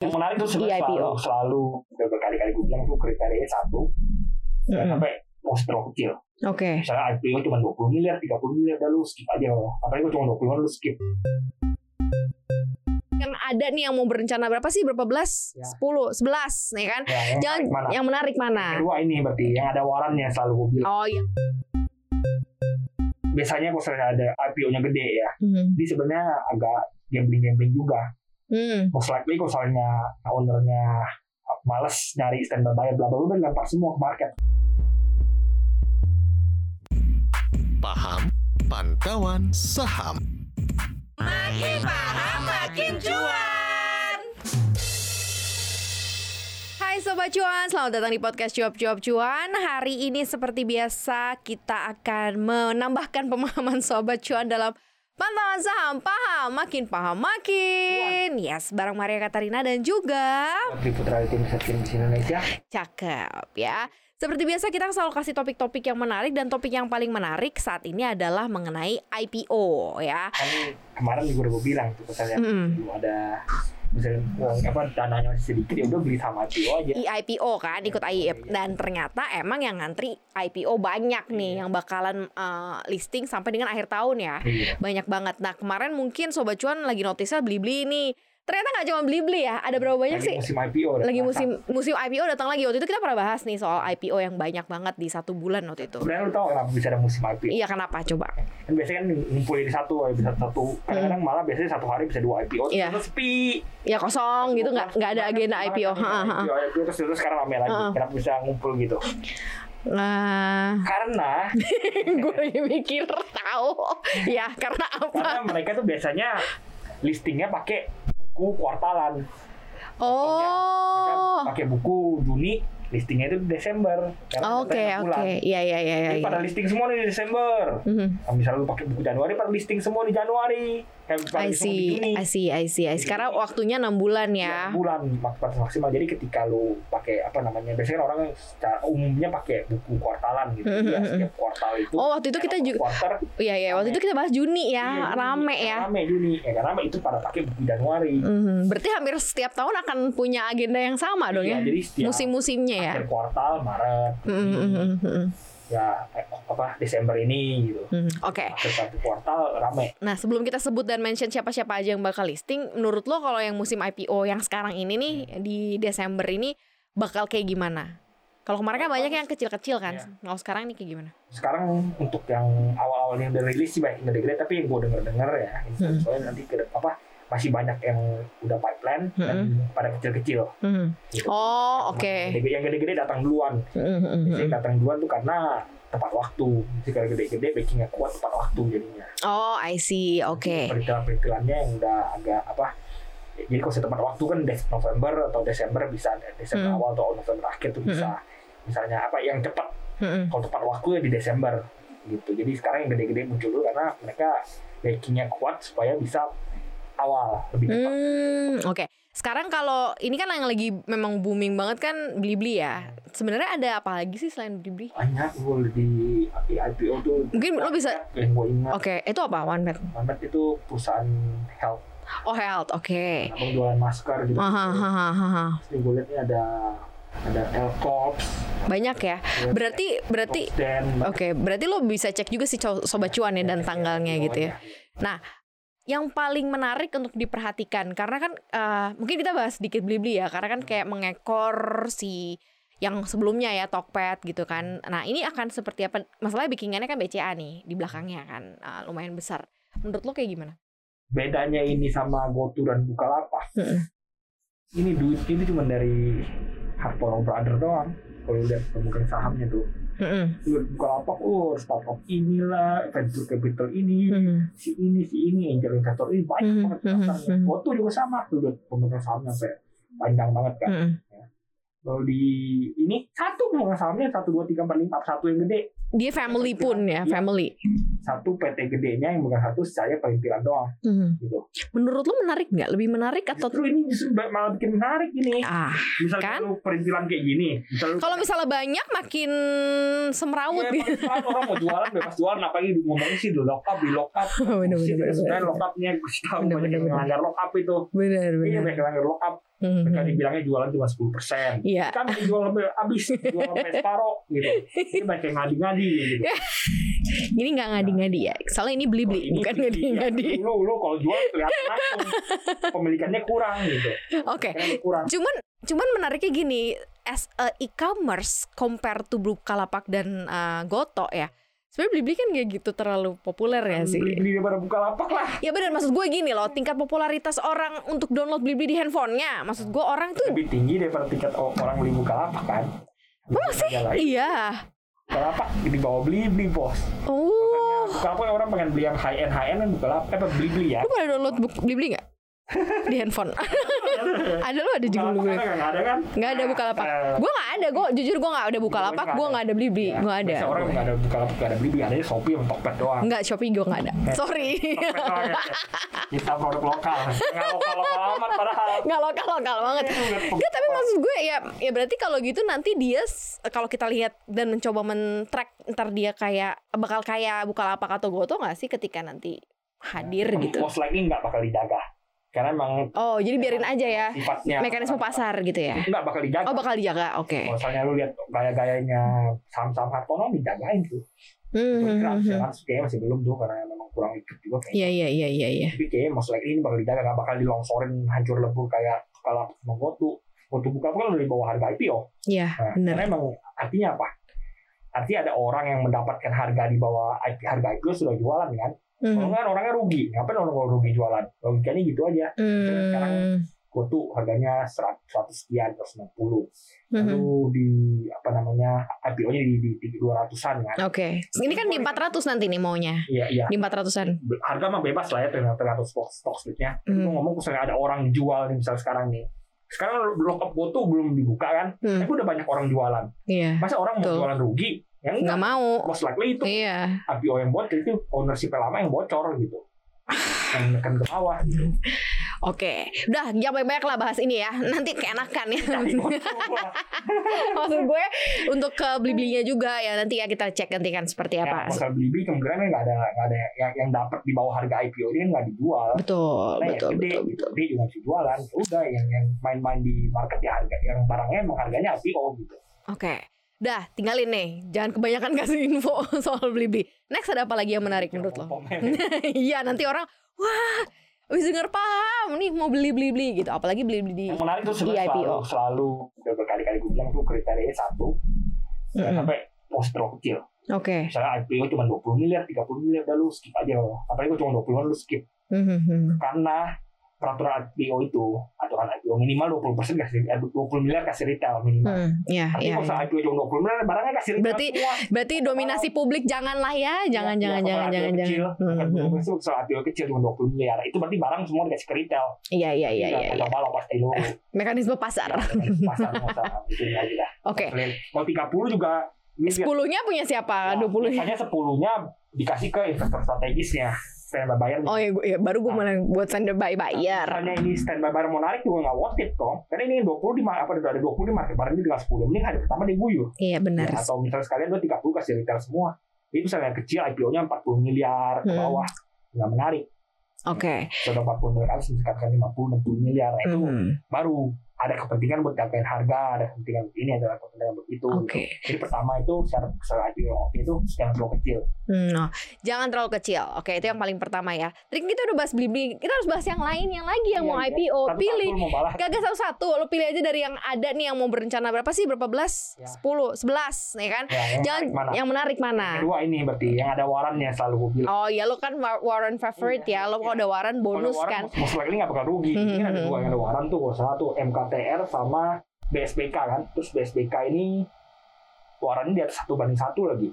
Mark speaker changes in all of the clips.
Speaker 1: yang menarik tuh sebenarnya
Speaker 2: IIPO.
Speaker 1: selalu, selalu udah berkali-kali gue bilang tuh kriterianya satu jangan
Speaker 2: Mm.
Speaker 1: sampai monster kecil
Speaker 2: Oke.
Speaker 1: misalnya IPO cuma 20 miliar 30 miliar udah lu skip aja apalagi gue cuma 20 miliar lu skip
Speaker 2: Kan ada nih yang mau berencana berapa sih? Berapa belas?
Speaker 1: Ya.
Speaker 2: 10, 11 nih kan.
Speaker 1: ya, yang
Speaker 2: Jangan
Speaker 1: menarik mana
Speaker 2: yang menarik mana?
Speaker 1: kedua ini berarti yang ada warannya selalu gue bilang
Speaker 2: Oh iya.
Speaker 1: biasanya kalau misalnya ada IPO-nya gede ya
Speaker 2: Hmm.
Speaker 1: ini sebenarnya agak gambling-gambling juga
Speaker 2: Hmm.
Speaker 1: most likely kalau misalnya ownernya males nyari standby buyer bla bla bla lempar semua ke market
Speaker 3: Paham Pantauan Saham
Speaker 2: Hai Sobat Cuan, selamat datang di podcast Cuap Cuap Cuan Hari ini seperti biasa kita akan menambahkan pemahaman Sobat Cuan dalam Pantauan saham, paham, makin paham, makin Yes, bareng Maria Katarina dan juga
Speaker 1: Putri Putra tim Setin di Indonesia
Speaker 2: Cakep ya Seperti biasa kita selalu kasih topik-topik yang menarik Dan topik yang paling menarik saat ini adalah mengenai IPO ya
Speaker 1: kan kemarin juga udah gue bilang tuh misalnya
Speaker 2: Mm-mm.
Speaker 1: belum ada misalnya uang- apa dananya masih sedikit ya udah beli saham IPO aja
Speaker 2: IPO kan ikut
Speaker 1: Iya,
Speaker 2: IIP dan ternyata emang yang ngantri IPO banyak nih yang bakalan eh, listing sampai dengan akhir tahun ya
Speaker 1: Iya.
Speaker 2: banyak banget nah kemarin mungkin sobat cuan lagi notisnya beli beli nih ternyata nggak cuma beli beli ya ada berapa banyak
Speaker 1: lagi
Speaker 2: sih
Speaker 1: musim IPO udah
Speaker 2: lagi
Speaker 1: terasa.
Speaker 2: musim musim IPO datang lagi waktu itu kita pernah bahas nih soal IPO yang banyak banget di satu bulan waktu itu
Speaker 1: sebenarnya lu tau kenapa bisa ada musim IPO
Speaker 2: iya kenapa coba
Speaker 1: kan biasanya kan ngumpulin satu bisa satu kadang-kadang malah biasanya satu hari bisa dua IPO
Speaker 2: Mm. Iya.
Speaker 1: terus sepi
Speaker 2: ya kosong gitu nggak nggak ada agenda
Speaker 1: Kemarin
Speaker 2: IPO
Speaker 1: kan
Speaker 2: Ha, ha, ha.
Speaker 1: IPO, IPO, terus terus sekarang rame lagi
Speaker 2: Ha.
Speaker 1: kenapa bisa ngumpul gitu
Speaker 2: nah
Speaker 1: karena
Speaker 2: gue lagi mikir tahu ya karena apa
Speaker 1: karena mereka tuh biasanya listingnya pakai buku kuartalan Mereka
Speaker 2: oh
Speaker 1: Kan pakai buku Juni listingnya itu Desember karena
Speaker 2: Oh, Oke
Speaker 1: datanya kan? bulan.
Speaker 2: oke, iya iya iya iya.
Speaker 1: Jadi pada listing semua nih di Desember
Speaker 2: Mhm.
Speaker 1: nah, misalnya lu pakai buku Januari pada listing semua di Januari kayak pada listing
Speaker 2: I
Speaker 1: semua
Speaker 2: see,
Speaker 1: di Juni
Speaker 2: I see, ya. I see, I see. Sekarang waktunya 6 bulan
Speaker 1: Iya,
Speaker 2: ya.
Speaker 1: bulan mak- batas maksimal jadi ketika lu pakai apa namanya biasanya kan orang secara umumnya pakai buku kuartalan gitu
Speaker 2: Mhm,
Speaker 1: ya
Speaker 2: mhm.
Speaker 1: setiap kuartal itu
Speaker 2: Oh waktu itu kita
Speaker 1: eh,
Speaker 2: juga,
Speaker 1: quarter
Speaker 2: iya iya. Waktu itu kita bahas Juni
Speaker 1: iya, Juni.
Speaker 2: ya, rame ya.
Speaker 1: rame Juni ya karena itu pada pakai buku Januari
Speaker 2: Mhm, Berarti hampir setiap tahun akan punya agenda yang sama dong
Speaker 1: Iya,
Speaker 2: ya.
Speaker 1: jadi setiap
Speaker 2: Musim-musimnya ya.
Speaker 1: akhir kuartal Maret
Speaker 2: Mhm, mhm, mhm,
Speaker 1: ya eh, apa Desember ini gitu
Speaker 2: mhm. Oke.
Speaker 1: akhir satu kuartal rame
Speaker 2: Nah sebelum kita sebut dan mention siapa-siapa aja yang bakal listing, menurut lo kalau yang musim IPO yang sekarang ini nih di Desember ini bakal kayak gimana? Kalau kemarin kan banyak yang kecil-kecil kan.
Speaker 1: Iya.
Speaker 2: Kalau sekarang nih kayak gimana?
Speaker 1: sekarang untuk yang awal-awal yang udah rilis sih banyak yang udah gede tapi yang gue denger-denger ya
Speaker 2: Hmm.
Speaker 1: soalnya nanti ke apa masih banyak yang udah pipeline dan pada kecil-kecil gitu.
Speaker 2: Oh Hmm. oke. Hmm.
Speaker 1: Yang gede- yang gede-gede datang duluan Biasanya yang datang duluan tuh karena tepat waktu Jadi kalau gede-gede backingnya kuat tepat waktu jadinya
Speaker 2: Oh, I see. Oke.
Speaker 1: peritilan-peritilannya yang udah agak apa jadi kalau saya tepat waktu kan Des- November atau Desember bisa Desember
Speaker 2: Hmm.
Speaker 1: awal atau November akhir tuh bisa misalnya apa yang cepat
Speaker 2: Mm-mm.
Speaker 1: kalau tepat waktu ya di Desember gitu jadi sekarang yang gede-gede muncul dulu karena mereka backingnya kuat supaya bisa awal lebih cepat
Speaker 2: Hmm, oke. Sekarang kalau ini kan yang lagi memang booming banget kan Blibli ya. Sebenarnya ada apa lagi sih selain Blibli?
Speaker 1: banyak gue di, di IPO tuh
Speaker 2: Mungkin lo bisa-
Speaker 1: yang gue ingat
Speaker 2: Oke, itu apa? One Pet.
Speaker 1: banget itu perusahaan health
Speaker 2: Oh, health. Oke.
Speaker 1: apa jualan masker gitu
Speaker 2: Aha, aha, aha.
Speaker 1: Terus gue liat nih ada ada L Corps
Speaker 2: Banyak ya. Berarti berarti
Speaker 1: dan
Speaker 2: Oke, berarti lo bisa cek juga sih co- sobat cuan ya dan tanggalnya gitu ya. Yang paling menarik untuk diperhatikan karena kan eh, mungkin kita bahas sedikit Blibli ya, karena kan kayak mengekor si yang sebelumnya ya Tokped gitu kan. Nah, ini akan seperti apa? Masalahnya backingannya kan BCA nih di belakangnya kan eh, lumayan besar. Menurut lo kayak gimana?
Speaker 1: bedanya ini sama GoTo dan Bukalapak
Speaker 2: Mm-mm.
Speaker 1: ini duit ini cuma dari Hartono Brother doang kalau lihat pemegang sahamnya tuh Lu lihat Bukalapak oh startup inilah venture capital ini
Speaker 2: Hmm.
Speaker 1: si ini si ini angel investor ini banyak
Speaker 2: Mhm,
Speaker 1: banget daftarnya
Speaker 2: mhm, mhm.
Speaker 1: GoTo juga sama tuh lihat pemegang sahamnya sampai panjang banget
Speaker 2: Hmm.
Speaker 1: kan Lalu di ini satu pemegang sahamnya satu dua tiga empat lima satu yang gede
Speaker 2: Dia family pun ya, family.
Speaker 1: satu PT gedenya yang bukan satu saya perintilan doang gitu.
Speaker 2: Menurut lo menarik nggak? Lebih menarik atau
Speaker 1: Justru ini justru ba- malah bikin menarik ini.
Speaker 2: ah?
Speaker 1: Misalnya
Speaker 2: kan?
Speaker 1: lu perintilan kayak gini, misalnya lu-
Speaker 2: Kalau misalnya banyak makin semrawut
Speaker 1: Ya,
Speaker 2: gitu.
Speaker 1: perintilan orang mau jualan bebas jualan apa ini ngomongin sih di lock up di lock up.
Speaker 2: bener
Speaker 1: Sih,
Speaker 2: bener
Speaker 1: sebenarnya
Speaker 2: bener
Speaker 1: lock upnya gue tahu
Speaker 2: Bener,
Speaker 1: banyak
Speaker 2: bener,
Speaker 1: yang
Speaker 2: bener.
Speaker 1: melanggar lock up itu. Iya
Speaker 2: bener bener
Speaker 1: banyak yang melanggar lock up.
Speaker 2: Mhm.
Speaker 1: mereka dibilangnya jualan cuma 10 persen
Speaker 2: Iya.
Speaker 1: kan jual sampai habis jual sampai separoh gitu ini banyak yang ngadi-ngadi gitu
Speaker 2: Iya, Ini nggak ngadi-ngadi ya. Soalnya ini
Speaker 1: Kalau Oh,
Speaker 2: beli-beli,
Speaker 1: ini
Speaker 2: bukan
Speaker 1: sih,
Speaker 2: ngadi-ngadi.
Speaker 1: iya, lu lu kalau jual kelihatan langsung pemilikannya kurang gitu
Speaker 2: Oke.
Speaker 1: Kayaknya kurang
Speaker 2: Cuman cuman menariknya gini, as a e-commerce compare to Bukalapak dan eh, Goto ya. Sebenarnya Blibli kan gak gitu terlalu populer ya sih.
Speaker 1: beli beli daripada buka lapak lah
Speaker 2: Ya benar maksud gue gini loh, tingkat popularitas orang untuk download Blibli di handphonenya. Maksud gue orang tuh
Speaker 1: lebih tinggi daripada tiket o- orang beli buka lapak kan
Speaker 2: Emang Oh, sih?
Speaker 1: Jalan.
Speaker 2: Iya.
Speaker 1: buka lapak di bawah beli beli bos
Speaker 2: Oh.
Speaker 1: buka lapak orang pengen beli yang high end high end kan buka lapak eh beli beli ya
Speaker 2: Lu pada download buk Blibli gak? di handphone. ada lu ada juga lu.
Speaker 1: Bukalapak kan nggak ada kan
Speaker 2: Nggak ada Bukalapak.
Speaker 1: Eh,
Speaker 2: Gue nggak ada, gue jujur gue nggak ada Bukalapak, gue nggak ada Blibli,
Speaker 1: Ya,
Speaker 2: gue ada.
Speaker 1: biasanya orang nggak ada buka lapak nggak ada beli beli adanya shopee sama tokped doang
Speaker 2: Nggak Shopee gue nggak ada. Sorry.
Speaker 1: Tokped doang ya. kita produk lokal nggak lokal lokal amat padahal
Speaker 2: nggak lokal lokal banget.
Speaker 1: Eh.
Speaker 2: Nggak, tapi maksud gue ya, ya berarti kalau gitu nanti dia s- kalau kita lihat dan mencoba men-track ntar dia kayak bakal kayak Bukalapak atau Goto nggak sih ketika nanti hadir gitu.
Speaker 1: most likely nggak bakal dijaga karena emang
Speaker 2: Oh, jadi biarin aja ya
Speaker 1: sifatnya
Speaker 2: mekanisme pasar gitu ya.
Speaker 1: nggak bakal dijaga
Speaker 2: Oh, bakal dijaga. Oke.
Speaker 1: kalau misalnya lu lihat gaya-gayanya saham-saham Hartono dijagain tuh bergerak
Speaker 2: Hmm,
Speaker 1: jalan kan? kayaknya masih belum tuh karena memang kurang ikut juga kayaknya
Speaker 2: Iya iya iya iya iya.
Speaker 1: tapi kayaknya most likely ini bakal dijaga nggak bakal dilongsorin hancur lebur kayak kalau menggotu untuk buka kan udah di bawah harga IPO
Speaker 2: Iya,
Speaker 1: Nah,
Speaker 2: benar.
Speaker 1: karena emang artinya apa artinya ada orang yang mendapatkan harga di bawah IP harga IPO sudah jualan kan kalau
Speaker 2: Hmm.
Speaker 1: nggak orangnya rugi ngapain orang kalau rugi jualan logikanya gitu aja sekarang
Speaker 2: Hmm.
Speaker 1: gotu harganya 100, 100 sekian 190
Speaker 2: Mhm.
Speaker 1: lalu di apa namanya IPO-nya di di, di 200-an kan.
Speaker 2: Oke. Ini kan di 400 nanti nih maunya.
Speaker 1: Iya iya.
Speaker 2: Di 400-an.
Speaker 1: Be- Harga mah bebas lah ya tergantung tergantung stok stok splitnya. Tapi
Speaker 2: Hmm.
Speaker 1: mau ngomong misalnya ada orang jual nih misalnya sekarang nih. Sekarang lockup goto belum dibuka kan?
Speaker 2: Hmm.
Speaker 1: Tapi udah banyak orang jualan.
Speaker 2: Iya.
Speaker 1: Masa orang mau
Speaker 2: Betul.
Speaker 1: jualan rugi? Ya
Speaker 2: Nggak
Speaker 1: enggak.
Speaker 2: mau.
Speaker 1: Most likely itu
Speaker 2: Iya.
Speaker 1: IPO yang bocor itu ownership lama yang bocor gitu. Yang menekan ke bawah gitu.
Speaker 2: Oke. Udah, jangan banyak-banyak lah bahas ini ya. Nanti keenakan ya.
Speaker 1: Tapi gotu, wah.
Speaker 2: Maksud gue untuk ke beli-belinya juga ya nanti ya kita cek nanti kan seperti
Speaker 1: Ya,
Speaker 2: apa.
Speaker 1: pasal beli-beli kemungkinan nggak ada nggak ada yang- yang yang dapat di bawah harga IPO ini nggak dijual.
Speaker 2: Betul,
Speaker 1: Nah,
Speaker 2: betul,
Speaker 1: yang gede,
Speaker 2: betul,
Speaker 1: gitu.
Speaker 2: betul.
Speaker 1: Dia juga masih jualan. Ya Udah yang yang main-main di market ya harga yang barangnya emang harganya IPO gitu.
Speaker 2: Oke. Dah, tinggalin nih. Jangan kebanyakan kasih info soal beli-beli. Next ada apa lagi yang menarik menurut lo? Iya nanti orang wah wis denger paham nih mau beli beli beli gitu apalagi beli beli di
Speaker 1: Yang menarik tuh
Speaker 2: di
Speaker 1: sebenarnya selalu,
Speaker 2: IPO.
Speaker 1: selalu udah berkali-kali gue bilang tuh kriterianya satu jangan
Speaker 2: Mm-mm.
Speaker 1: sampai postur kecil.
Speaker 2: Oke.
Speaker 1: Misalnya IPO cuma 20 miliar, 30 miliar, udah lu skip aja loh. Apalagi gue cuma 20 miliar, lu skip.
Speaker 2: Mhm.
Speaker 1: Karena peraturan IPO itu, aturan IPO minimal 20% kasih, eh, 20 miliar kasih retail minimal.
Speaker 2: Hmm, ya,
Speaker 1: Tapi kalau
Speaker 2: ya, ya.
Speaker 1: misalnya IPO cuma 20 miliar, barangnya kasih retail
Speaker 2: Berarti-
Speaker 1: semua.
Speaker 2: Berarti dominasi publik janganlah ya,
Speaker 1: Ya,
Speaker 2: jangan jangan
Speaker 1: ya,
Speaker 2: jangan
Speaker 1: kalau
Speaker 2: jangan
Speaker 1: IPO kecil,
Speaker 2: jangan.
Speaker 1: bukan
Speaker 2: Mhm.
Speaker 1: bukan besar, soal IPO kecil cuma 20 miliar. Itu berarti barang semua dikasih ke retail.
Speaker 2: Iya iya iya iya. iya.
Speaker 1: Coba lo pasti lo.
Speaker 2: Mekanisme pasar.
Speaker 1: Iya. Pasar mau sama itu ya, gitu. lagi lah.
Speaker 2: Oke.
Speaker 1: Kalian Mau 30 juga miliar.
Speaker 2: Sepuluhnya punya siapa?
Speaker 1: Iya.
Speaker 2: Dua puluh.
Speaker 1: Biasanya 10-nya dikasih ke investor strategisnya. Standby buyer.
Speaker 2: Oh ya, gue- ya, baru
Speaker 1: Iya.
Speaker 2: gue mulai buat standar by bayar.
Speaker 1: Nah, Misalnya ini standby buyer mau narik juga nggak worth it dong. Karena ini 20 di mar- apa ada 20 di market barang ini tinggal 10. Mending hari pertama dia guyur.
Speaker 2: Iya benar.
Speaker 1: Atau misalnya sekalian lo 30 kasih retail semua. Jadi misalnya yang kecil IPO-nya 40 miliar ke
Speaker 2: Hmm.
Speaker 1: bawah. Nggak menarik.
Speaker 2: Oke.
Speaker 1: sudah 40 miliar harus misalkan 50 60 miliar nah, Iya, itu
Speaker 2: Mhm.
Speaker 1: baru ada kepentingan buat jagain harga ada kepentingan buat ini ada kepentingan buat itu
Speaker 2: Oke.
Speaker 1: jadi pertama itu syarat besar aja itu yang terlalu kecil
Speaker 2: Hmm, no. Jangan terlalu kecil. Oke, itu yang paling pertama ya. Trik kita udah bahas Blibli. Kita harus bahas yang lain, yang lagi yang
Speaker 1: Iya,
Speaker 2: mau
Speaker 1: iya.
Speaker 2: IPO.
Speaker 1: Satu
Speaker 2: Oh, Pilih.
Speaker 1: satu mau balas
Speaker 2: Kagak satu-satu. Lo pilih aja dari yang ada nih yang mau berencana berapa sih? Berapa belas?
Speaker 1: Ya.
Speaker 2: Sepuluh, sebelas, ya kan?
Speaker 1: ya, yang
Speaker 2: Jangan nah.
Speaker 1: menarik mana
Speaker 2: yang menarik mana?
Speaker 1: kedua ini berarti yang ada warannya selalu gue bilang
Speaker 2: Oh ya lo kan wa- Warren favorite ya. Lo kalau ada Warren bonus
Speaker 1: Iya, Kalau
Speaker 2: kan.
Speaker 1: waran, most likely nggak bakal rugi ini kan ada
Speaker 2: Mhm.
Speaker 1: dua yang ada waran tuh kalau salah tuh MKTR sama BSBK kan terus BSBK ini warannya di atas satu banding satu lagi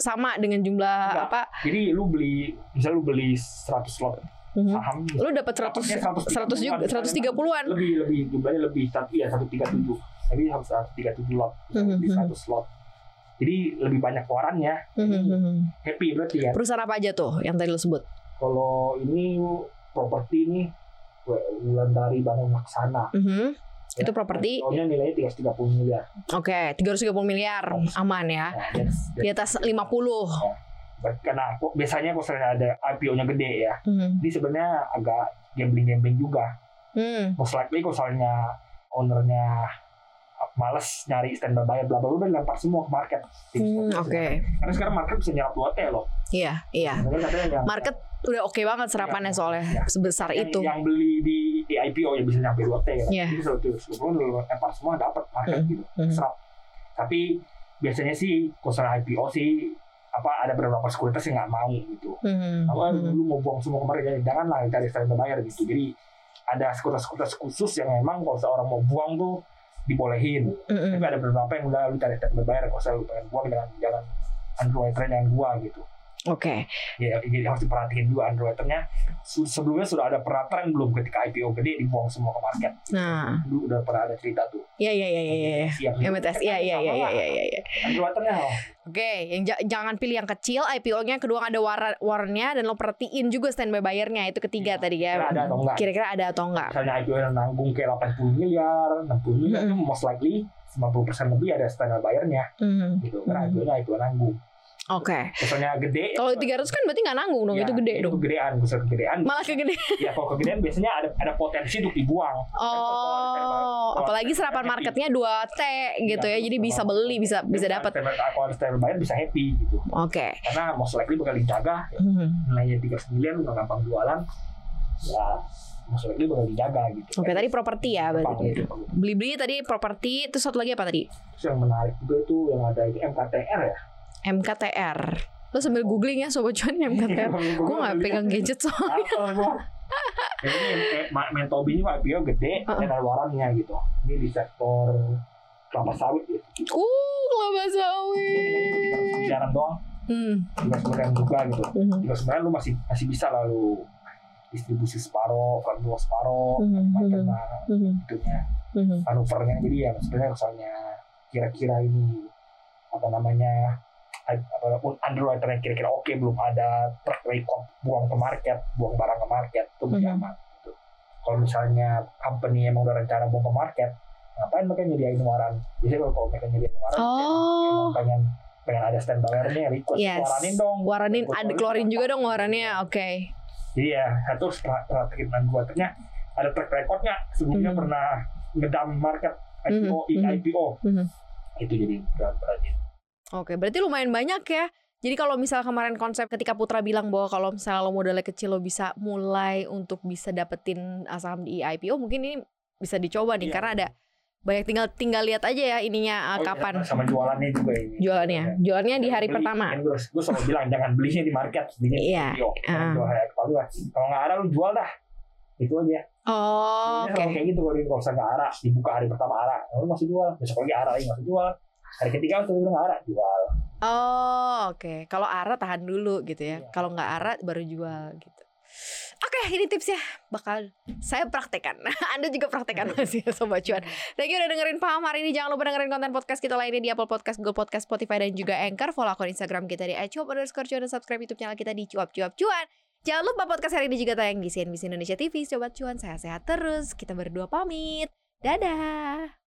Speaker 2: Sama dengan jumlah
Speaker 1: Enggak.
Speaker 2: apa?
Speaker 1: jadi lu beli misalnya lu beli 100 slot
Speaker 2: Mhm.
Speaker 1: saham
Speaker 2: Lo dapat 100 100 juga 130-an.
Speaker 1: lebih lebih jumlahnya lebih tapi ya 137 tapi harus 137 lot
Speaker 2: Mhm.
Speaker 1: di 100 lot jadi lebih banyak warannya
Speaker 2: Mhm.
Speaker 1: happy berarti ya
Speaker 2: Perusahaan apa aja tuh yang tadi lo sebut?
Speaker 1: kalau ini properti ini bulan dari bangun laksana
Speaker 2: Mhm.
Speaker 1: Ya.
Speaker 2: Itu properti.
Speaker 1: tahunnya nilainya 330 miliar
Speaker 2: Oke, 330 miliar aman
Speaker 1: nah,
Speaker 2: ya.
Speaker 1: that's-
Speaker 2: Di atas 50.
Speaker 1: that's- karena kok biasanya kalau misalnya ada IPO-nya gede ya
Speaker 2: Mhm.
Speaker 1: ini sebenarnya agak gambling-gambling juga
Speaker 2: Hmm.
Speaker 1: most likely kalau soalnya ownernya males nyari standby buyer bla bla bla udah dilempar semua ke market
Speaker 2: Hmm, Oke.
Speaker 1: karena sekarang market bisa nyerap lote loh
Speaker 2: Iya, iya.
Speaker 1: Sebenarnya kadang yang-
Speaker 2: Market udah oke banget serapannya
Speaker 1: Iya.
Speaker 2: soalnya
Speaker 1: Iya.
Speaker 2: sebesar
Speaker 1: yang,
Speaker 2: itu.
Speaker 1: yang beli di, di IPO yang bisa nyampe 2 T ya.
Speaker 2: Iya.
Speaker 1: Jadi selalu tuh sebelum lu lempar semua dapat market
Speaker 2: Mm,
Speaker 1: gitu.
Speaker 2: mm.
Speaker 1: Serap. Tapi biasanya sih kosan IPO sih apa ada beberapa sekuritas yang nggak mau gitu.
Speaker 2: Hmm,
Speaker 1: Apa
Speaker 2: hmm.
Speaker 1: lu mau buang semua kemarin ya jangan lah cari standar bayar gitu. Jadi ada sekuritas-sekuritas khusus yang memang kalau seorang mau buang tuh dibolehin.
Speaker 2: Hmm, hmm.
Speaker 1: Tapi ada beberapa yang udah lu cari standar bayar kalau saya lu pengen buang jangan jangan Android trend yang gua gitu
Speaker 2: Oke.
Speaker 1: ya jadi harus diperhatiin juga underwriternya Su- sebelumnya sudah ada pernah tren belum ketika IPO gede dibuang semua ke market
Speaker 2: Nah,
Speaker 1: dulu udah pernah ada cerita tuh
Speaker 2: iya iya iya iya iya.
Speaker 1: siap
Speaker 2: MTS iya iya iya iya iya. iya.
Speaker 1: underwriternya oh,
Speaker 2: Oke, yang ja- jangan pilih yang kecil IPO-nya kedua ada war- warnnya dan lo perhatiin juga standby bayarnya itu ketiga
Speaker 1: Iya.
Speaker 2: tadi ya.
Speaker 1: Kira ada atau enggak.
Speaker 2: Kira-kira ada atau enggak?
Speaker 1: misalnya IPO yang nanggung kayak 80 miliar 60 miliar itu most likely 90% lebih ada standar bayarnya
Speaker 2: Hmm,
Speaker 1: gitu karena
Speaker 2: Hmm.
Speaker 1: IPO nya IPO nanggung
Speaker 2: Oke.
Speaker 1: misalnya gede
Speaker 2: Kalau 300 kan berarti nggak nanggung dong,
Speaker 1: ya,
Speaker 2: itu gede
Speaker 1: itu
Speaker 2: dong.
Speaker 1: kegedean besar kegedean
Speaker 2: Malah kegedean.
Speaker 1: ya kalau kegedean biasanya ada ada potensi untuk dibuang
Speaker 2: Oh, apalagi serapan marketnya 2T gitu
Speaker 1: Iya,
Speaker 2: ya. Jadi bisa beli, bisa bisa dapat.
Speaker 1: kalau ada standar bayar bisa happy gitu
Speaker 2: Oke.
Speaker 1: karena most likely bakal dijaga
Speaker 2: Hmm.
Speaker 1: nilainya 39 nggak gampang jualan ya maksudnya bakal dijaga gitu
Speaker 2: Oke, tadi properti ya
Speaker 1: Gampang,
Speaker 2: berarti.
Speaker 1: gampang.
Speaker 2: Beli-beli tadi properti, terus satu lagi apa tadi?
Speaker 1: terus yang menarik juga itu yang ada di MKTR ya
Speaker 2: MKTR. Lo sambil googling ya sobat cuan MKTR. Gue nggak pegang gadget so.
Speaker 1: Apel gua. Ya, ini eh, Ma- Mentobi ini IPO gede
Speaker 2: Uh-uh.
Speaker 1: dan ada warannya gitu ini di sektor kelapa sawit ya
Speaker 2: Uh, kelapa sawit.
Speaker 1: jalan doang
Speaker 2: Hmm.
Speaker 1: juga sebenarnya juga gitu
Speaker 2: Mhm.
Speaker 1: juga sebenarnya lu masih masih bisa lalu distribusi separo, kan dua separo,
Speaker 2: Mhm.
Speaker 1: macam
Speaker 2: Mhm.
Speaker 1: macam
Speaker 2: Mhm.
Speaker 1: itunya
Speaker 2: Mhm.
Speaker 1: manuvernya jadi ya sebenarnya misalnya kira-kira ini apa namanya ad- apa underwriter yang kira-kira oke belum ada track record buang ke market buang barang ke market itu lebih
Speaker 2: Mhm.
Speaker 1: aman gitu. kalau misalnya company emang udah rencana buang ke market ngapain mereka nyediain waran biasanya kalau- kalau mereka nyediain waran
Speaker 2: Oh.
Speaker 1: emang pengen pengen ada stand bayarnya request
Speaker 2: Yes.
Speaker 1: waranin dong
Speaker 2: Waranin,
Speaker 1: Request
Speaker 2: ada
Speaker 1: waranin
Speaker 2: keluarin
Speaker 1: apa?
Speaker 2: juga dong warannya. Oke.
Speaker 1: Jadi ya satu strategi underwriternya ada track recordnya sebelumnya
Speaker 2: Mhm.
Speaker 1: pernah ngedam market
Speaker 2: Mhm,
Speaker 1: IPO,
Speaker 2: mhm.
Speaker 1: IPO
Speaker 2: Mhm.
Speaker 1: itu jadi berarti
Speaker 2: Oke, berarti lumayan banyak ya. Jadi kalau misal kemarin konsep ketika Putra bilang bahwa kalau misalnya lo modalnya kecil lo bisa mulai untuk bisa dapetin ah, saham di IPO, mungkin ini bisa dicoba
Speaker 1: Iya.
Speaker 2: nih karena ada banyak tinggal tinggal lihat aja ya ininya
Speaker 1: Oh,
Speaker 2: ah,
Speaker 1: iya,
Speaker 2: kapan
Speaker 1: sama jualannya juga ini
Speaker 2: jualannya. Jualannya di hari pertama.
Speaker 1: gue, gue selalu bilang jangan belinya di market belinya di
Speaker 2: Iya.
Speaker 1: IPO jangan
Speaker 2: Ah.
Speaker 1: jual hari pertama lah. kalau nggak ada lu jual dah itu aja
Speaker 2: Oh,
Speaker 1: Sebenarnya
Speaker 2: oke.
Speaker 1: kalau kayak gitu kalau di- kalau misalnya nggak arah dibuka hari pertama arah lu masih jual besok lagi arah lagi masih jual hari ketiga lu udah nggak arah jual
Speaker 2: Oh, oke. Kalau ara tahan dulu gitu ya.
Speaker 1: Iya.
Speaker 2: Kalau nggak ara baru jual gitu. Oke, ini tipsnya bakal saya praktekkan. Anda juga praktekkan masih ya, sobat cuan. Thank you udah dengerin paham hari ini. Jangan lupa dengerin konten podcast kita lainnya di Apple Podcast, Google Podcast, Spotify dan juga Anchor. Follow akun Instagram kita di @cuap underscore cuan dan subscribe YouTube channel kita di cuap cuap cuan. Jangan lupa podcast hari ini juga tayang di CNBC Indonesia TV. Sobat cuan, sehat-sehat terus. Kita berdua pamit. Dadah.